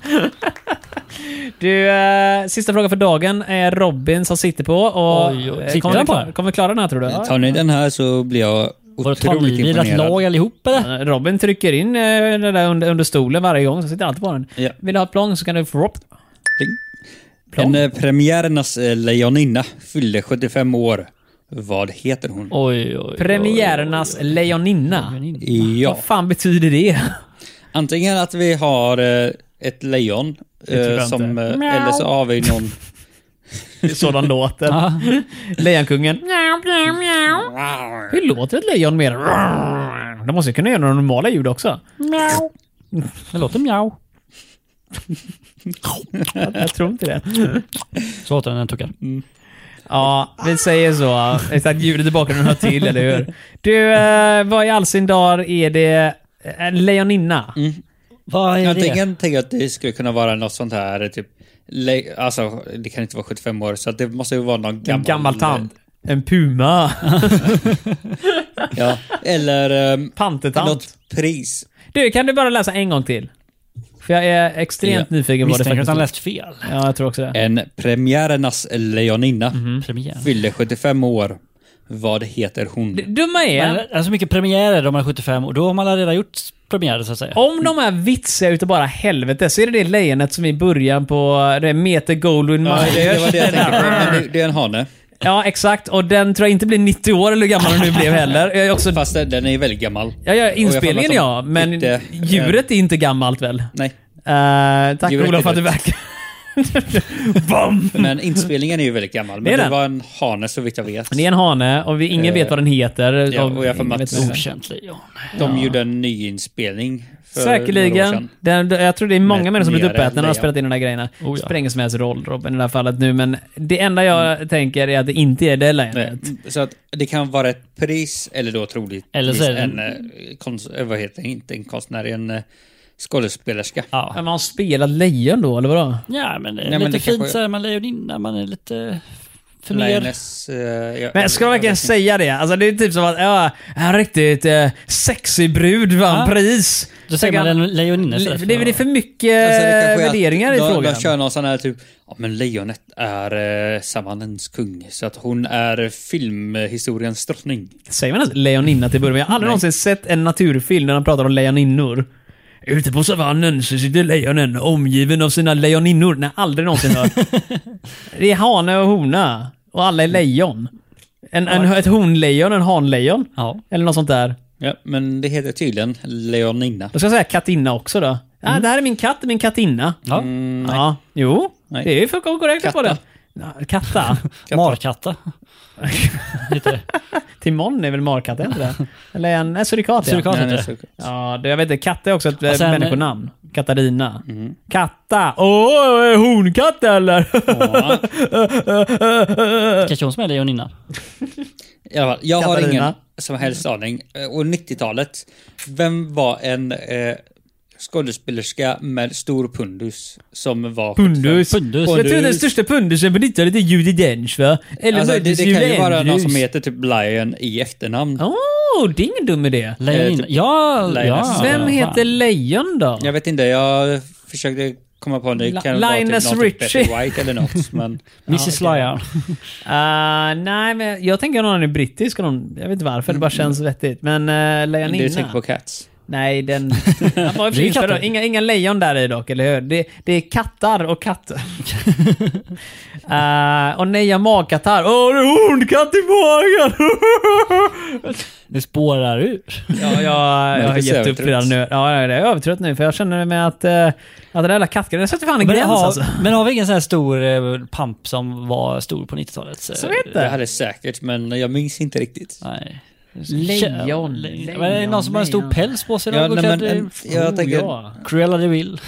A: Du, eh, sista frågan för dagen är Robin som sitter på. Och,
C: Oj, oj.
A: eh,
C: Sitter
A: kommer,
C: han
A: vi
C: på
A: klara,
C: den?
A: kommer vi klara den här tror du?
B: Tar ni den här så blir jag
C: Var det tar
B: otroligt
C: ni ert lag
B: imponerad.
C: allihop eller?
A: Robin trycker in eh, den där under, under stolen varje gång, så sitter han alltid på den.
B: Ja.
A: Vill du ha ett plång så kan du få...
B: Pling.
A: Plan.
B: En eh, premiärernas eh, lejoninna fyllde 75 år. Vad heter hon?
C: Oj, oj, oj.
A: Premiärernas Lejoninna.
B: Ja.
A: Vad fan betyder det?
B: Antingen att vi har eh, ett lejon,
A: tror
B: eh,
A: jag
B: som,
A: inte.
B: eh, eller så har vi någon...
A: Sådan låter.
C: Ja.
A: Lejonkungen. Hur låter ett lejon mer? De måste ju kunna göra några normala ljud också.
C: Det låter mjau.
A: Jag, jag tror inte det.
C: Så låter den när den tuckar.
A: Ja, vi säger så. Exakt, ljudet i bakgrunden hör till, eller hur? Du, eh, vad i all sin dar är det eh, en lejoninna?
C: Vad är det?
B: Antingen tänker jag att det skulle kunna vara något sånt här, typ... Le- alltså, det kan inte vara 75 år, så att det måste ju vara någon gammal...
A: En gammal tant? En puma?
B: Ja. Eller ehm,
A: Pantertant?
B: något pris.
A: Du, kan du bara läsa en gång till? För jag är extremt
B: Ja.
A: nyfiken på vad det
C: Misstänker att
A: faktiskt
C: han
A: är.
C: läst fel.
A: Ja, jag tror också det.
B: En premiärernas lejoninna
A: Mhm.
C: Premiär.
B: fyllde 75 år. Vad heter hon?
A: Det dumma är...
C: Men, alltså mycket premiärer de är 75 och då har man redan gjort premiärer så att säga.
A: Om de är vitsiga utav bara helvete så är det det lejonet som i början på det är Meter Goldwyn
B: Ja,
A: Mayer.
B: det, det var det jag tänkte på. Men det, det är en hane.
A: Ja, exakt. Och den tror jag inte blir 90 år eller hur gammal den nu blev heller. Jag är också...
B: Fast den- den är väldigt gammal.
A: Ja, ja,
B: Och jag får eh,
A: inspelningen
B: mig
A: ja,
B: att de
A: men
B: inte-
A: djuret är inte gammalt väl?
B: Nej.
A: Eh, tack
B: Djuret är
A: Olof för att du
B: dött.
A: verkar... Bam!
B: Men inspelningen är ju väldigt gammal.
A: Det är
B: Men det,
A: den.
B: var en hane så vitt jag vet.
A: Det är en hane och vi, ingen
B: Eh,
A: vet vad den heter.
B: ja, och jag får
A: ingen
B: Mats
A: vet vad den heter.
C: Okänt lejon.
B: De gjorde en nyinspelning för några år
A: Säkerligen.
B: sedan.
A: Den, den- jag tror det är många
B: Med
A: människor som blivit
B: nyare
A: uppätna när de har
B: lejon.
A: spelat in de där grejerna.
C: Oh, ja.
A: Det spelar ingen som helst roll Robin i det här fallet nu, men det enda jag tänker är att det inte är det lejonet.
B: Nej, Mm, Så att det kan vara ett pris, eller då troligt
C: Eller så är det
B: en, eh, konst, eh, vad heter det, inte en konstnär, en eh, skådespelerska.
A: Ja,
C: Ja.
A: Men har han spelat lejon då, eller vadå?
C: ja, men det är
B: Nej, men det
C: lite
B: kanske-
C: fint så är man lejoninna, man är lite för mer...
B: Lioness, eh, jag-
A: Men ska man
B: jag
A: verkligen
B: vet inte.
A: säga det? Alltså det är typ som att ja, en riktigt eh, sexig brud vann
C: Ja.
A: pris.
C: Då säger man
A: Tänker
C: en lejoninna
A: han,
C: istället
A: det, är- det är för mycket
B: Alltså, det kanske är att
A: värderingar i
B: de,
A: frågan.
B: De kör någon sån här typ, ja men lejonet är eh, sammannens kung, så att hon är filmhistoriens drottning.
A: Säger man ens lejoninna till början? Jag har aldrig någonsin sett en naturfilm där de pratar om lejoninnor. Ute på savannen så sitter lejonen omgiven av sina lejoninnor. Nej, aldrig någonsin hört. det är hane och hona. Och alla är lejon. En, en, ett honlejon, en hanlejon.
C: Ja.
A: Eller något sånt där.
B: Ja, men det heter tydligen lejoninna.
A: Då ska jag säga kattinna också då. Ja,
B: Mm.
A: det här är min katt, min kattinna.
C: ja.
A: ja, jo.
B: Nej.
A: Det är ju fullkomligt korrekt på
B: Katta.
A: det. Ja, Katta?
C: Markatta. lite.
A: Timon är väl markatt, är inte det? Eller en en surikat? ja.
C: Surikat.
B: Nej,
C: inte.
B: nej, så-
A: Ja, det, jag vet inte. Katta är också ett eh,
C: sen-
A: människonamn. Katarina. Katta. Åh, är hon katt eller?
B: Mm. Ja,
C: Kanske hon som är
A: Eh,
C: lejoninna.
A: typ
B: I alla fall, jag har
A: Katarina.
B: ingen som helst aning. Eh, Och 90-talet, vem var en eh, skådespelerska med stor pundus som var...
A: Pundus.
C: Pundus.
A: Jag tror den största pundusen på 90-talet är Judi Dench va? Eller
B: Alltså, det,
A: möjligtvis
B: det kan ju
A: Julie
B: vara någon
A: Andrews.
B: som heter typ Lion i efternamn.
A: Åh, det är ingen dum idé.
C: Lejoninna.
B: typ-
C: Ja, ja.
B: Lejoninna.
A: Vem
C: Fan.
A: heter Lejon då?
B: Jag vet inte, jag försökte komma på en ny.
A: Li-
B: Det kan vara typ
A: Linus
B: någon typ
A: Richie.
B: Betty White eller något. Men
C: Mrs Lion.
A: Ah, nej, men jag tänker att någon är brittisk. och Någon, jag vet inte varför, det bara känns vettigt. Men uh,
B: du Mm. är
A: Lejoninna?
B: säker på Cats?
A: Nej, den... Han var ju
C: Det är ju
A: precis-
C: katter.
A: inga, inga lejon där i dock, eller hur? Det, det är kattar och katter. uh, och nej, jag magkattar. Åh, det är hornkatt i magen!
C: Det spårar ur.
A: ja, jag, jag har
B: Marcus är
A: gett upp
B: övertrött.
A: redan nu. Ja, jag är övertrött nu, för jag känner med att, eh, att den där jävla kattgrejen, den sätter fan en
C: Men
A: gräns
C: har,
A: alltså.
C: men har vi ingen sån här stor eh, pamp som var stor på 90-talet?
A: Så vet
B: Det
A: inte.
B: hade säkert, men jag minns inte riktigt.
C: Nej.
A: Lejon,
C: Lejon. Men är det någon som har en
A: lejon.
C: stor päls på sig?
B: Ja,
C: Ja,
B: nej, men, en- jag
A: Oh,
B: tänker...
A: ja.
C: Cruella de Vil.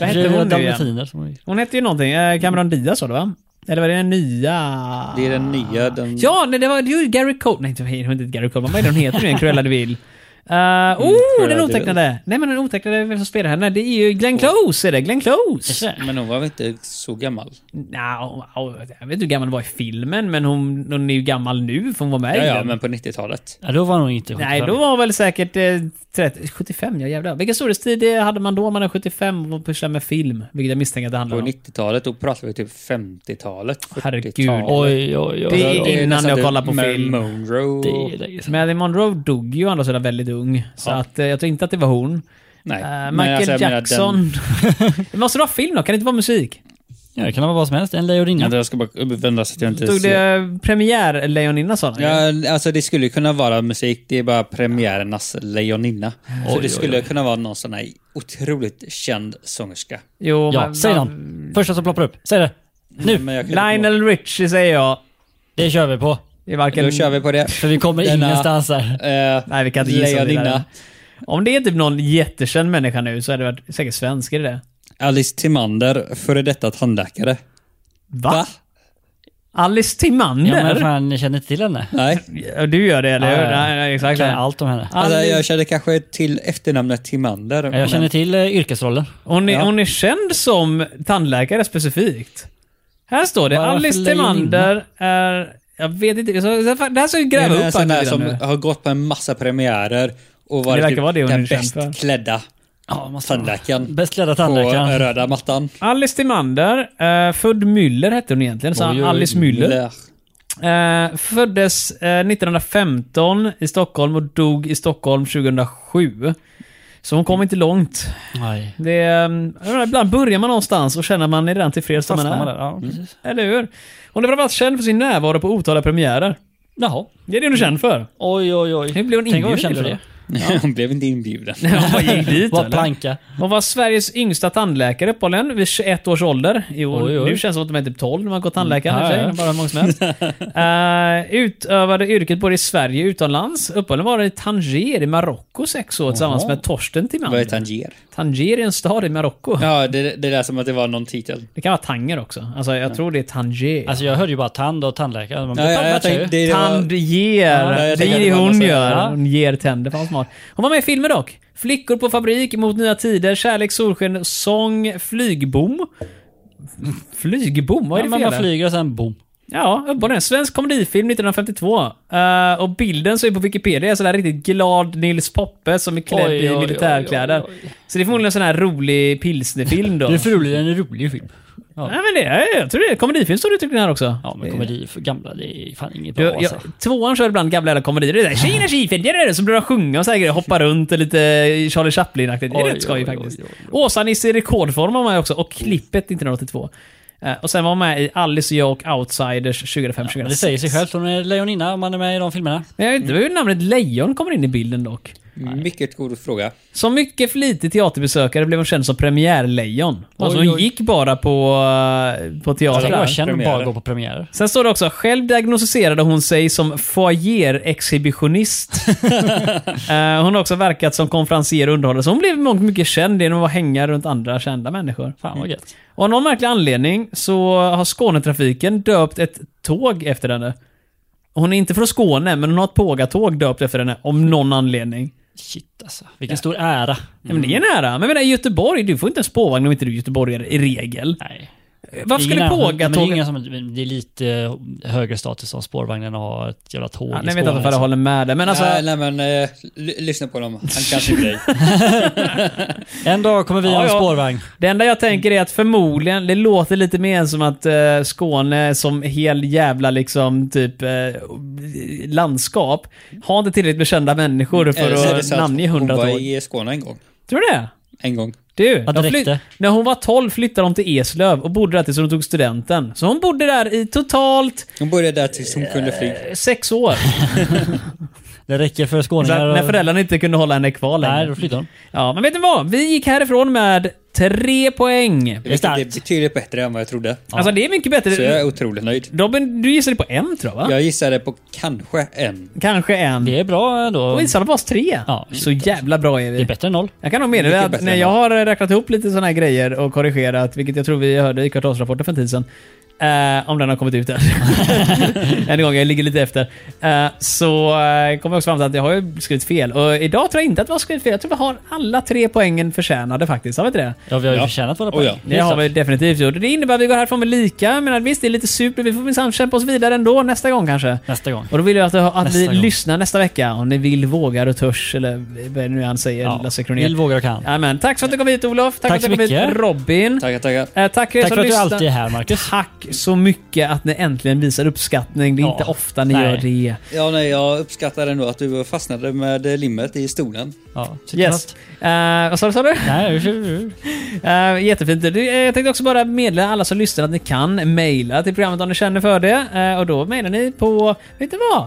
A: Vad hette hon nu igen?
C: Dalmatiner som hon gick.
A: Hon hette ju någonting. eh, Cameron Diaz var det va? Eller var det den nya?
B: Det är den nya, den...
A: Ja, nej, det var det var ju Gary Cole. Nej, inte- hon heter inte Gary Cole. Vad är det hon heter nu igen? Cruella de Vil. Uh, oh,
B: Mm, Cruella
A: den
B: de
A: otecknade! Nej men den otecknade, vem som spelar henne? Det är ju Glenn Close, är det? Glenn Close!
C: Kanske det.
B: Men hon var väl inte så gammal?
A: Nja, hon- jag vet inte hur gammal hon var i filmen, men hon, hon är ju gammal nu, för hon var med
B: Ja,
A: i
B: ja,
A: den.
B: men på 90-talet.
C: Ja, då var hon inte
A: Nej,
C: sjukdom.
A: då var hon väl säkert eh, 30, 75, ja jävlar. Vilken storhetstid eh, hade man då om man är 75 och pysslar med film? Vilket jag misstänker att det handlar
B: På
A: om.
B: 90-talet, då pratar vi typ 50-talet.
A: Herregud.
B: 40-talet.
C: Oj, oj, oj.
A: Det är
C: oj, oj.
A: innan
B: nästan
A: jag
B: typ
A: kollar på
B: Marilyn
A: film.
B: Monroe.
C: Det är länge sedan.
A: Marilyn Monroe dog ju å andra sidan väldigt ung, så
B: Ja.
A: att, eh, jag tror inte att det var hon.
B: Nej.
A: Eh,
B: men
A: Michael
B: alltså, jag menar,
A: Jackson.
B: Den,
A: det måste vara film då, kan det inte vara musik?
C: Ja, det kan vara vad som helst. En lejoninna.
B: ja, jag ska bara vända så att jag inte
A: Tog
B: ser.
A: det eh, premiär Lejoninna sådana? grejer?
B: Ja, alltså det skulle kunna vara musik, det är bara premiärernas lejoninna. så det skulle kunna vara någon sån här otroligt känd sångerska.
A: Jo,
C: Ja,
A: men-
C: säg namn. Första som ploppar upp. Säg det. Nu.
B: Men jag kan inte
A: Lionel Richie säger jag.
C: Det kör vi på.
A: Det är varken...
B: Då kör vi på det.
C: För vi kommer
B: Denna-
C: ingenstans här.
B: Eh,
A: Nej, vi kan inte gissa om det där.
B: Lejoninna.
A: Om det är typ någon jättekänd människa nu så är det varit- säkert svensk, är det det?
B: Alice Timander, före detta tandläkare.
A: Va? Alice Timander?
C: Ja, men fan, ni känner inte till henne?
B: Nej.
A: Ja, Du gör det, eller hur?
C: Ja, ja.
A: Nej, nej,
C: Jag
A: exakt.
C: kan allt om henne.
A: Alice-
B: Alltså, jag känner kanske till efternamnet Timander.
C: Ja, Jag känner till eh, yrkesrollen.
A: Hon är,
B: Ja.
A: hon är känd som tandläkare specifikt. Här står det,
C: Varför
A: Alice
C: lägger in
A: Timander är... Jag vet inte, så, det här ska vi
B: Det
A: gräva
B: är en
A: upp
B: sån där
A: faktiskt
B: som
A: nu.
B: har gått på en massa premiärer och varit
A: verkar
B: typ
A: vara det hon
B: den
A: är känd för.
B: bäst klädda
C: Ja, måste vara.
B: tandläkaren
C: Bäst klädda
B: på
C: tandläkaren.
B: röda mattan.
A: Alice Timander, eh, född Müller hette hon egentligen, så
C: Oj, oj,
A: Alice Müller.
B: Lär.
A: Eh, föddes eh, 1915 i Stockholm och dog i Stockholm 2007. Så hon kom inte långt.
C: Nej.
A: Det, är, eh, ibland börjar man någonstans och känner man är redan tillfreds där man
C: Fastnar man där?
A: är.
C: Ja, precis.
A: Eller hur? Hon är framförallt känd för sin närvaro på otaliga premiärer.
C: Jaha.
A: Det är det hon är känd för.
C: Oj, oj, oj.
A: Hur blev hon
C: Tänk om
A: inbjuden
C: jag kände för
A: till
C: det.
B: Hon blev inte inbjuden.
A: Vad gick dit
C: Var
A: eller?
C: planka.
A: Hon var Sveriges yngsta tandläkare uppenbarligen vid 21 års ålder. Jo,
C: Oj, oj.
A: Nu känns det som att de är typ 12 när man går tandläkaren.
C: Mm.
A: i och för sig.
C: Ja, ja.
A: Bara hur många som helst. Eh, utövade yrket både i Sverige och utomlands. Uppenbarligen var det i Tanger i Marocko sex år tillsammans med Torsten
B: Vad är
A: Timander.
B: Tanger?
A: Tanger är en stad i Marocko.
B: Ja, det, det lät som att det var någon titel.
A: Det kan vara Tanger också. Alltså, jag tror det är Tanger.
C: Alltså jag hörde ju bara tand och tandläkare. Man
B: Ja, ja, jag
C: matchar ju.
B: tänkte, det, det var,
A: Tandger.
B: Ja, jag
A: det
B: tänkte
A: är
B: att
A: det
B: det var
A: hon
B: något
A: gör.
C: sånt.
A: Hon ger tänder. Fan vad smart. Hon var med i filmer dock. Flickor på fabrik, Mot nya tider, Kärlek, solsken, Sång, Flygbom. Flygbom? Vad är det
C: Ja, men
A: för
C: man
A: jävla-
C: flyger och sen boom.
A: Ja, uppenbarligen. Svensk komedifilm 1952. Eh, och bilden så är på Wikipedia är sådär riktigt glad Nils Poppe som är klädd
C: Oj,
A: i
C: oj,
A: militärkläder.
C: oj, oj,
A: Så det är förmodligen en sån här rolig pilsnerfilm då.
C: Det är förmodligen en rolig film. Ja.
A: Nej, men det, är- jag tror det är komedifilm står det tycker här också.
C: Ja, men komedi för gamla, det är fan inget bra
A: Jag, jag,
C: alltså.
A: tvåan kör ibland gamla jävla komedier. Det är där, tjena tjifen, det är det. Så börjar de sjunga och så här grejer. Hoppa runt och lite Charlie Chaplin-aktigt. Det är
C: Oj,
A: rätt skoj
C: oj, oj,
A: faktiskt.
C: oj,
A: Åsa-Nisse i rekordform var med också. Och klippet 1982. Eh, och sen var hon med i Alice och jag och Outsiders 2005-2006.
C: Men det säger sig självt, hon är lejoninna om man är med i de filmerna.
A: Men jag vet inte hur namnet Lejon kommer in i bilden dock.
B: mycket god fråga.
A: Som mycket flitig teaterbesökare blev hon känd som premiärlejon. Alltså
C: Oj,
A: hon
C: oj.
A: gick bara på, eh, på
C: Alltså, jag
A: teatrar.
C: var känd och
B: Premiärer.
C: bara gå på premiärer.
A: Sen står det också, själv diagnostiserade hon sig som foyer-exhibitionist. Eh, hon har också verkat som konferencier och underhållare, så hon blev i mångt och mycket känd genom att hänga runt andra kända människor.
C: Fan vad gött.
A: Och av någon märklig anledning så har Skånetrafiken döpt ett tåg efter henne. Hon är inte från Skåne, men hon har ett pågatåg döpt efter henne, om någon anledning.
C: Shit alltså. Vilken stor
A: Ja,
C: ära.
A: men
C: Mm.
A: det är nära. Men jag menar, i Göteborg, du får inte en spårvagn om inte du är göteborgare i regel.
C: Nej.
A: Varför
C: Ingen
A: skulle
C: annan- men det, är
A: pågatåget...
C: ingen som, det är lite eh, högre status som spårvagnen har ett jävla tåg
A: Ja,
C: i
A: nej, jag vet inte
C: Skåne,
A: om jag
C: alltså.
A: håller med dig, men alltså...
B: nej, nej, men eh, l- lyssna på dem. Han kanske dig.
C: En dag kommer vi
A: Ja,
C: ha en
A: ja.
C: spårvagn.
A: Det enda jag tänker är att förmodligen, det låter lite mer som att eh, Skåne som hel jävla liksom typ eh, landskap har inte tillräckligt med kända människor för
B: Eller Eh, så är det
A: att
B: så att
A: namnge
B: hon
A: hundra
B: var
A: tåg.
B: i Skåne en gång.
A: Tror du det?
B: En gång.
A: Du,
C: Ja, det
A: de fly-
C: räckte.
A: när hon var 12 flyttade de till Eslöv och bodde där tills hon tog studenten. Så hon bodde där i totalt
B: Hon började där tills hon kunde flyga.
A: eh, sex år.
C: Det räcker för
A: Så
C: skåningar.
A: att när föräldrarna inte kunde hålla henne kvar
C: Nej,
A: längre.
C: då flyttar de.
A: Ja, men vet ni vad? Vi gick härifrån med tre poäng.
B: Det
C: starkt.
B: är betydligt bättre än vad jag trodde.
A: Alltså det är mycket
B: Så jag
A: bättre.
B: är otroligt nöjd.
A: Robin, du gissade på en tror jag va?
B: Jag gissade på kanske en.
A: Kanske en.
C: Det är bra ändå.
A: Och gissade på oss tre.
C: Ja.
A: så jävla bra är
C: Det är
A: vi.
C: bättre än noll.
A: Jag kan nog meddela
B: Mycket
A: att
B: bättre
A: när
B: än
A: jag har räknat ihop lite sådana här grejer och korrigerat, vilket jag tror vi hörde i kvartalsrapporten för en tid sedan, eh, om den har kommit ut än. en gång, jag ligger lite efter. Eh, så eh, kom jag också fram till att jag har ju skrivit fel. Och idag tror jag inte att vi har skrivit fel. Jag tror vi har alla tre poängen förtjänade faktiskt. Har vi inte det?
C: Ja, vi har ju
B: Ja.
C: förtjänat våra
B: Oh,
C: poäng.
B: ja.
A: Det har vi definitivt gjort. Det innebär att vi går härifrån med lika. Jag menar, visst, det är lite super. Vi får minsann kämpa oss vidare ändå nästa gång kanske.
C: Nästa gång.
A: Och då vill jag att, att vi
C: Nästa gång.
A: lyssnar nästa vecka om ni vill, vågar och törs eller vad nu han säger,
C: Ja.
A: Lasse Kronér.
C: Vill, vågar och kan.
A: Amen. Tack för att du kom hit Olof. Tack,
C: Tack
A: för att
C: så
A: du kom hit
C: mycket.
A: Robin.
B: Tackar, tackar.
A: Eh, tack er som
C: Tack för att du
A: lyssnar.
C: alltid är här, Marcus.
A: Tack så mycket att ni äntligen visar uppskattning. Det är
C: Ja.
A: inte ofta ni
C: Nej.
A: gör det.
B: Ja, nej, jag uppskattar ändå att du fastnade med limmet i stolen.
C: Ja, sitter
A: Yes.
C: fast.
A: Eh, vad sa du? Sa du?
C: Nej, tju-
A: Eh, jättefint. Du, eh, Jag tänkte också bara meddela alla som lyssnar att ni kan mejla till programmet om ni känner för det. Eh, och då mejlar ni på, vet du vad?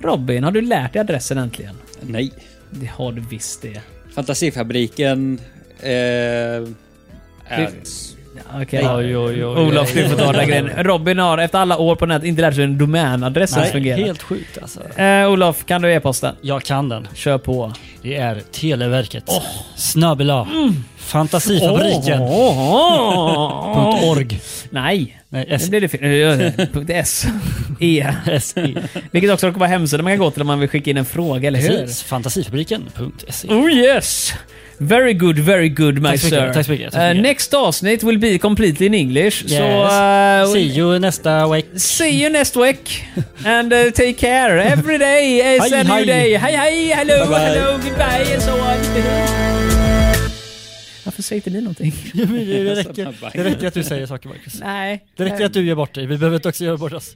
A: Robin, har du lärt dig adressen äntligen?
B: Nej.
A: Det har du visst det.
B: Fantasifabriken... Eh, ads.
A: Ja, Okej.
C: Oj, oj, oj, oj.
A: Olof, du får ta den där grejen. Robin har efter alla år på nätet inte lärt sig hur en domänadress ens
C: Nej,
A: fungerar.
C: helt sjukt alltså.
A: Eh, Olof, kan du e-posta?
C: Jag kan den.
A: Kör på.
C: Det är Televerket. Snabel A.
A: Mm.
C: Fantasifabriken.
A: Åh!
C: Punkt org.
A: Nej,
C: Nej,
A: det blir det fel. Nu gör jag det. Punkt S. E.
C: SE.
A: Vilket också råkar vara hemsidan man kan gå till om man vill skicka in en fråga, eller hur?
C: Precis. Fantasifabriken.se.
A: Oh yes! Very good, very good my
C: Tack så mycket,
A: sir.
C: tack så mycket, tack så
A: Eh,
C: mycket.
A: next avsnitt will be completely in English. So,
C: Yes.
A: eh,
C: See you nästa week.
A: See you next week. And uh, take care. Every day is
C: Hej,
A: a new
C: hej.
A: day. Hej, hej, hello,
B: Bye, bye.
A: hello, goodbye and so on. Varför säger inte ni någonting?
C: Det räcker, det räcker att du säger saker Marcus.
A: Nej.
C: Det räcker att du gör bort dig. Vi behöver inte också göra bort oss.